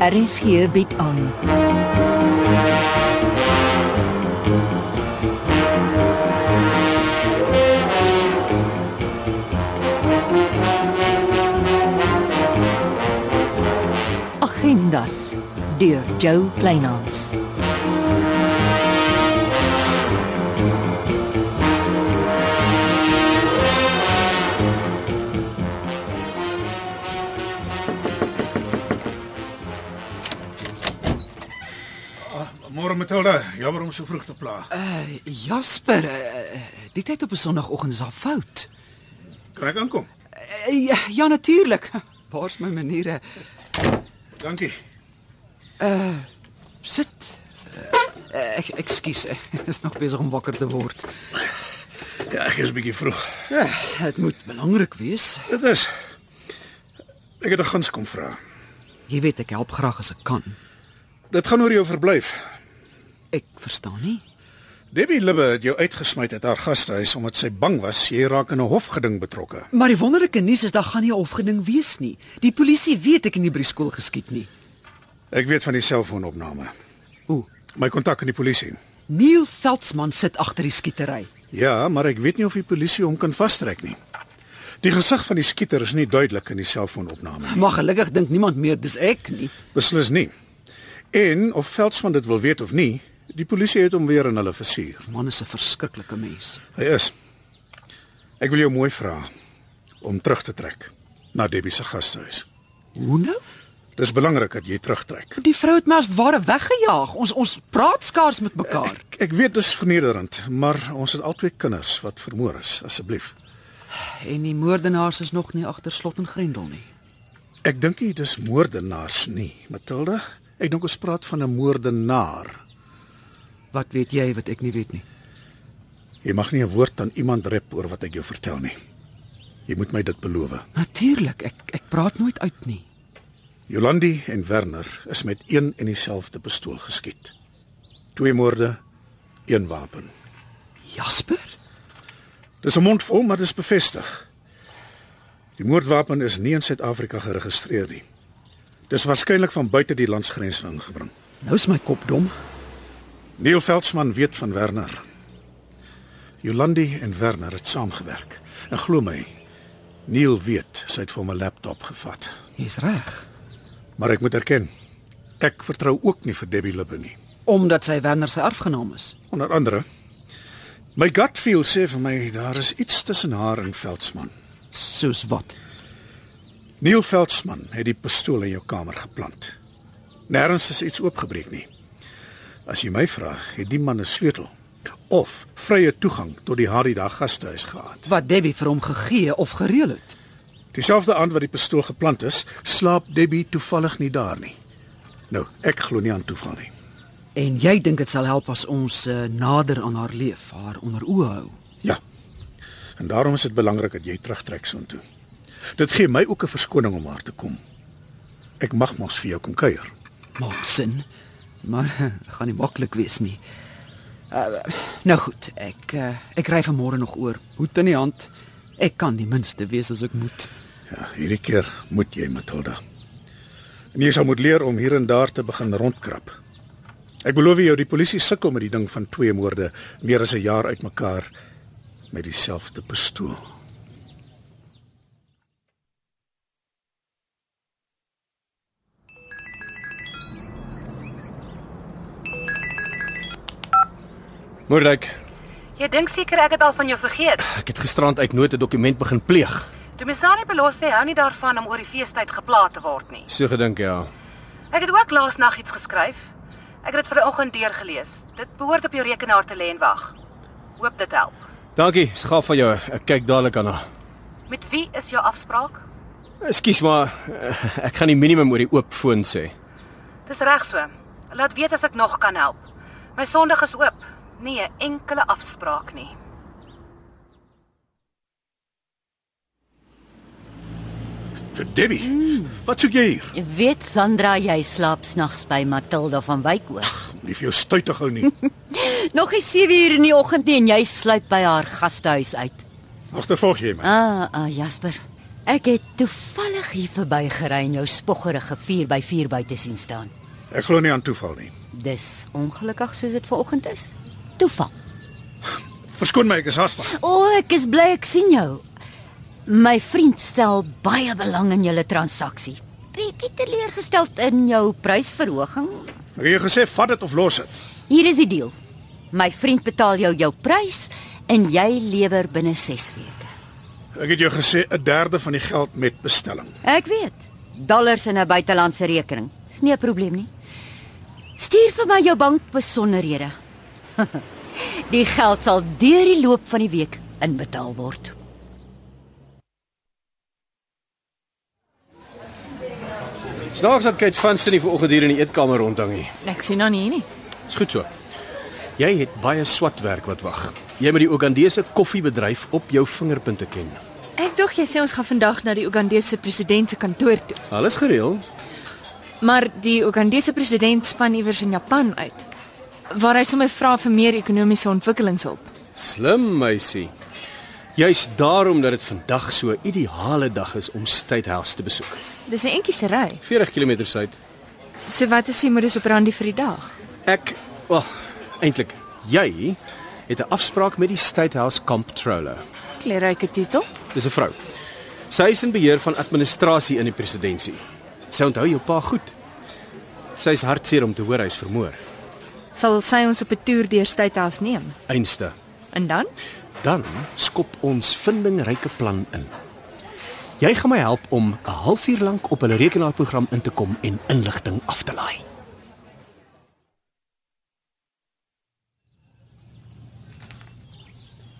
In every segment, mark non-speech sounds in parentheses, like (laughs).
RSG bied aan. Agendas deur Jo Kleinhans. Môre Matilda, jammer om so vroeg te pla. Uh, Jasper, uh, die tyd op 'n sonoggend is al fout. Kan ek aankom? Uh, ja, ja natuurlik. Waar's my Eh, maniere? Dankie. Sit. Uh, ek ekskuus, ek is nog besig om wakker te word. Ja, ek is 'n bietjie vroeg. Ja, dit moet belangrik wees. Dit is Ek het 'n guns kom vra. Jy weet ek help graag as ek kan. Dit gaan oor jou verblyf. Ek verstaan nie. Debbie Libbe het jou uitgesmy uit haar gastehuis omdat sy bang was jy raak in 'n hofgeding betrokke. Maar die wonderlike nuus is daar gaan nie 'n hofgeding wees nie. Die polisie weet ek in die Brieskool geskiet nie. Ek weet van die selfoonopname. O, My kontak in die polisie. Neil Veldsmann sit agter die skietery. Ja, maar ek weet nie of die polisie hom kan vastrek nie. Die gesig van die skieter is nie duidelik in die selfoonopname. Maar gelukkig dink niemand meer dis ek nie. Beslis nie. En of Veldsmann dit wil weet of nie, die polisie het hom weer aan hulle versuur. Man is 'n verskriklike mens. Hy is. Ek wil jou mooi vra om terug te trek na Debbie se gastehuis. Hoe nou? Dis belangrik dat jy terugtrek. Die vrou het my as ware weggejaag. Ons ons praat skaars met mekaar. Ek, ek weet dis vernederend, maar ons het albei kinders wat vermoor is, asseblief. (clears throat) En die moordenaars is nog nie agter slot en grendel nie. Ek dink nie dis moordenaars nie, Matilda. Ek dink ons praat van 'n moordenaar. Wat weet jy wat ek nie weet nie? Jy mag nie 'n woord aan iemand rep oor wat ek jou vertel nie. Jy moet my dit beloof. Natuurlik, ek ek praat nooit uit nie. Jolandi en Werner is met een en dieselfde pistool geskiet. Twee moorde, een wapen. Jasper? Dis 'n mond vol, maar dis bevestig. Die moordwapen is nie in Suid-Afrika geregistreer nie. Dis waarskynlik van buite die landsgrense ingebring. Nou is my kop dom. Neil Veldsmann weet van Werner. Jolandi en Werner het saamgewerk. En glo my, Neil weet sy het vir my laptop gevat. Jy's reg. Maar ek moet erken, ek vertrou ook nie vir Debbie Libbe nie. Omdat sy Werner se erfgenaam is. Onder andere, my gut feel sê vir my daar is iets tussen haar en Veldsmann. Soos wat? Neil Veldsmann het die pistool in jou kamer geplant. Nêrens is iets oopgebreek nie. As jy my vra, het die man 'n sleutel of vrye toegang tot die Harida gastehuis gehad. Wat Debbie vir hom gegee of gereël het. Dieselfde aand wat die pistool geplant is, slaap Debbie toevallig nie daar nie. Nou, ek glo nie aan toeval nie. En jy dink dit sal help as ons uh, nader aan haar leef, haar onder oë hou. Ja. En daarom is dit belangrik dat jy terugtrek soontoe. Dit gee my ook 'n verskoning om haar te kom. Ek mag mos vir jou kom kuier. Maak sin. Maar eh, gaan nie maklik wees nie. Uh, nou goed, ek uh, ek ry vanmôre nog oor. Hoed in die hand. Ek kan die minste wees as ek moet. Ja, hierdie keer moet jy, Matilda. En jy sal moet leer om hier en daar te begin rondkrap. Ek beloof jou, die polisie sukkel met die ding van twee moorde meer as 'n jaar uitmekaar met dieselfde pistool. Moordryk, Jy dink seker ek het al van jou vergeet. ek het gisterand uit nood 'n dokument begin pleeg. Domisani belos sy hou nie daarvan om oor die feestyd geplaat te word nie. So gedink ja. Ek het ook laasnag iets geskryf. Ek het dit vir 'n oggend deurgelees. Dit behoort op jou rekenaar te lê en wag. Hoop dit help. Dankie, skaaf van jou. Ek kyk dadelik aan haar. Met wie is jou afspraak? Ekskuus maar eh, ek gaan die minimum oor die oop foon sê. Dis reg so. Laat weet as ek nog kan help. My Sondag is oop. Nie 'n enkele afspraak nie. Debbie, mm. wat soek jy hier? Jy weet Sandra, jy slaap snags by Matilda van Wyk oor. Nie vir jou stuitig hou nie. Nog nie 7uur in die oggend nie en jy sluip by haar gastehuis uit. Agtervolg jy my. Ah, ah Jasper. Ek het toevallig hier verbygery en jou spoggerige 4x4 by te sien staan. Ek glo nie aan toeval nie. Dis ongelukkig soos dit vanoggend is. Toeval. Verskoon my, ek is haastig. O, oh, ek is bly ek sien jou. My vriend stel baie belang in julle transaksie. Bietjie teleurgesteld in jou prysverhoging. Ek het jou gesê vat dit of los dit. Hier is die deal. My vriend betaal jou jou prys en jy lewer binne 6 weke. Ek het jou gesê 'n derde van die geld met bestelling. Ek weet. Dollars in 'n buitelandse rekening. Dis nie 'n probleem nie. Stuur vir my jou bankbesonderhede. (laughs) die geld sal deur die loop van die week inbetaal word. Snaaks dat Kate Vanston nie vanoggend hier in die eetkamer rondhang nie. Ek sien haar nie hier nie. Is goed so. Jy het baie swat werk wat wag. Jy moet die Ugandese koffiebedryf op jou vingerpunte ken. Ek dink jy sê ons gaan vandag na die Ugandese president se kantoor toe. Alles gereël. Maar die Ugandese president span iewers in Japan uit waar hy sommer vra vir meer ekonomiese ontwikkelingshulp. Slim meisie. Juist daarom dat dit vandag so 'n ideale dag is om Statehels te besoek. Dis 'n entjie se ry. 40 km suid. So wat is die modus operandi vir die dag? Ek, wel, eintlik jy het 'n afspraak met die Statehouse Comptroller. Kleurryke titel. Dis 'n vrou. Sy is in beheer van administrasie in die presidentskap. Sy onthou jou pa goed. Sy's hartseer om te hoor hy's vermoor. Sal sy ons op 'n toer deur Statehas neem? Einste. En dan? Dan skop ons vindingryke plan in. Jy gaan my help om 'n halfuur lank op hulle rekenaarprogram in te kom en inligting af te laai.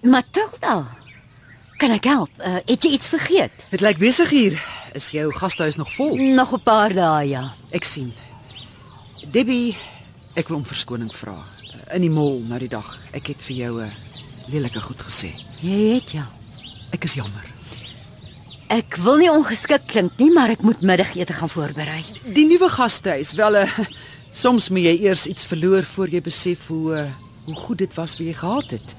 Matilda, kan ek help? Uh, het jy iets vergeet? Dit lyk besig hier. Is jou gastehuis nog vol? Nog 'n paar dae ja. Ek sien. Debbie, ek wil om verskoning vra. In die mall nou die dag. Ek het vir jou 'n lelike goed gesê. Jy het ja. Ek is jammer. Ek wil nie ongeskik klink nie, maar ek moet middagete gaan voorberei. Die nuwe gastehuis, wel 'n (laughs) soms moet jy eers iets verloor voor jy besef hoe eh, hoe goed dit was wat jy gehad het.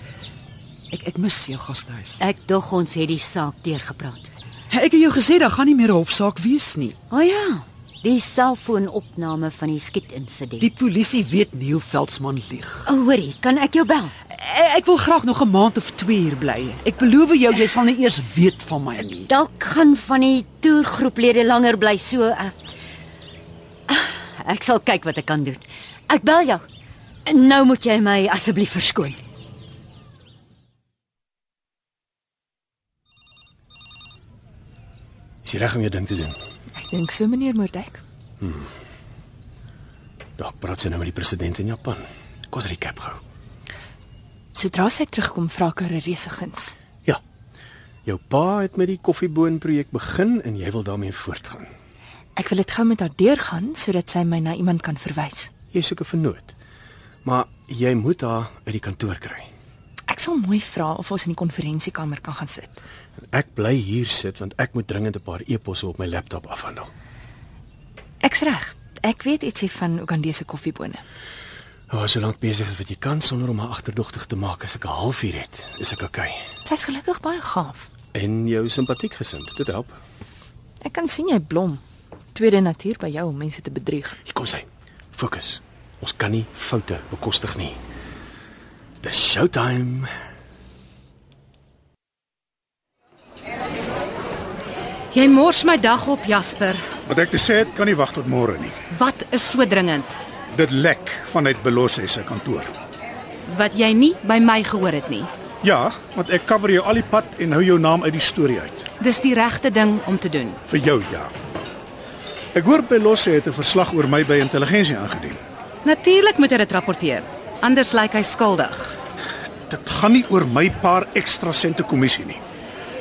Ek ek mis jou gastehuis. Ek dog ons het die saak deurgepraat. Ek het jou gesê daar gaan nie meer 'n hofsaak wees nie. O oh, ja, die selfoonopname van die skietinsident. Die polisie weet nie hoe Veldsmann lieg. E, O, hoorie, kan ek jou bel? Ek, ek wil graag nog 'n maand of 2 hier bly. Ek beloof jou jy sal nie eers weet van my nie. Dalk gaan van die toergroeplede langer bly so. Uh, ek sal kyk wat ek kan doen. Ek bel jou. Nou moet jy my asseblief verskoon. Is jy reg om jou ding te doen? Ek dink so meneer Moerdijk. Dalk praat sy nou met die president in Japan. Kom ons recap gou. Sodra sy terugkom vra ek haar 'n reuse guns. Ja. Jou pa het met die koffieboon projek begin en jy wil daarmee voortgaan. Ek wil dit gou met haar deurgaan sodat sy my na iemand kan verwys. Jy soek 'n vernoot. Maar jy moet haar uit die kantoor kry. Ek sal mooi vra of ons in die konferensiekamer kan gaan sit. Ek bly hier sit want ek moet dringend 'n paar e-posse op my laptop afhandel. Ek's reg. Ek weet ietsie van Ugandese koffiebone. Ja, oh, solank besig is wat jy kan sonder om haar agterdogtig te maak as ek 'n halfuur het, is ek oukei. Okay. Sy's gelukkig baie gaaf. En jou simpatiek gesind, dit help. Ek kan sien jy blom. Tweede natuur by jou om mense te bedrieg. Hier kom sy. Fokus. Ons kan nie foute bekostig nie. Dis showtime. Jy mors my dag op, Jasper. Wat ek te sê het, kan nie wag tot môre nie. Wat is so dringend Dit lek vanuit Belosse se kantoor. wat jy nie by my gehoor het nie? Ja, want ek cover jou al die pad en hou jou naam uit die storie uit. Dis die regte ding om te doen. Vir jou ja. Ek hoor Belosse het 'n verslag oor my by intelligensie aangedien. Natuurlik moet hy dit rapporteer. Anders lyk hy skuldig. Dit gaan nie oor my paar ekstra sente kommissie nie.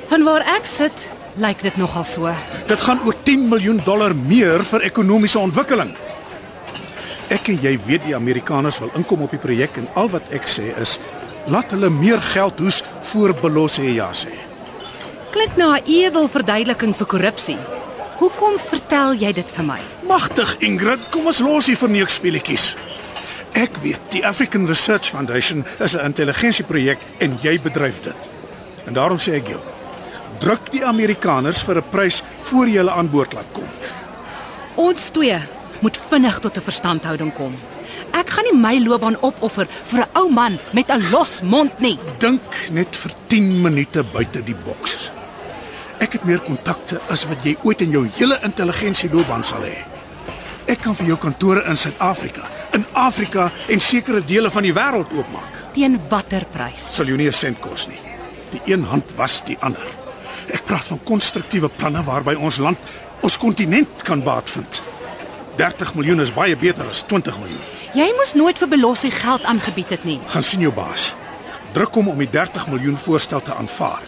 Vanwaar ek sit, lyk dit nogal so. Dit gaan oor 10 miljoen dollar meer vir ekonomiese ontwikkeling. Ek en jy weet die Amerikaners wil inkom op die projek en al wat ek sê is laat hulle meer geld hoes voor Belos sê ja sê. Klink na 'n edel verduideliking vir korrupsie. Hoekom vertel jy dit vir my? Magtig Ingrid, kom ons los hier verneukspelletjies. Ek weet die African Research Foundation is 'n intelligensieprojek en jy bedryf dit. En daarom sê ek jou, druk die Amerikaners vir 'n prys voor jy hulle aan boord laat kom. Ons twee moet vinnig tot 'n verstandhouding kom. Ek gaan nie my loopbaan opoffer vir 'n ou man met 'n los mond nie. Dink net vir 10 minute buite die boks. Ek het meer kontakte as wat jy ooit in jou hele intelligensieloopbaan sal hê. Ek kan vir jou kantore in Suid-Afrika, in Afrika en sekere dele van die wêreld oopmaak. Teen watter prys? sal jou nie 'n sent kos nie. Die een hand was die ander. Ek praat van konstruktiewe planne waarby ons land, ons kontinent kan baat vind. 30 miljoen is baie beter as 20 miljoen. Jy moes nooit vir belossie geld aangebied het nie. Gaan sien jou baas. Druk hom om die 30 miljoen voorstel te aanvaar.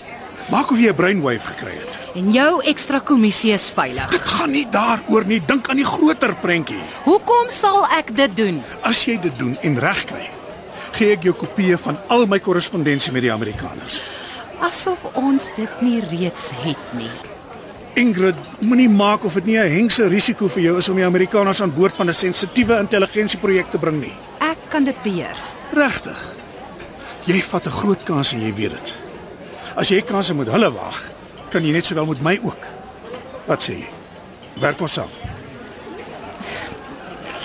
Maak of jy 'n brainwave gekry het. En jou ekstra kommissie is veilig. Dit gaan nie daaroor nie, dink aan die groter prentjie. Hoekom sal ek dit doen? As jy dit doen en reg kry, gee ek jou kopieë van al my korrespondensie met die Amerikaners. Asof ons dit nie reeds het nie. Ingrid, moenie maak of dit nie 'n hengse risiko vir jou is om die Amerikaners aan boord van 'n sensitiewe intelligensieprojek te bring nie. Ek kan dit beheer. Regtig. Jy vat 'n groot kans en jy weet dit. As jy kansse met hulle waag, kan jy net sowel met my ook. Wat sê jy? Werk ons saam.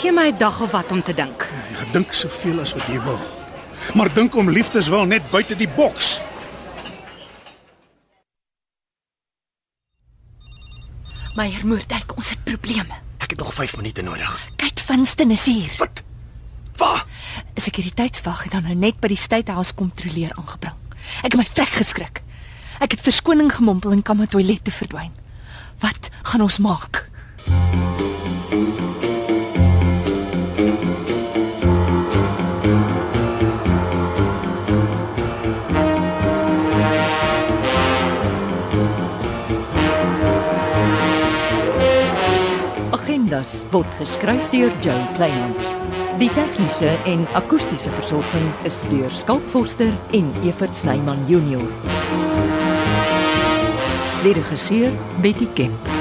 Gee my 'n dag of wat om te dink. Ja, dink soveel as wat jy wil. Maar dink om liefdes wel net buite die boks. Meyer Moerdijk, ons het probleme. Ek het nog 5 minute nodig. Kyk, Vinston is hier. Wat? Waar? 'n Sekuriteitswag het dan nou net by die State House kontroleer aangebring. Ek het my vrek geskrik. Ek het verskoning gemompel en kam na toilet toe verdwyn. Wat gaan ons maak? Agendas word geskryf deur Joe Kleins. Die tegniese en akoestiese versorging is deur Skalk Forster en Evert Snyman Junior. Lede geseer Betty Kemp.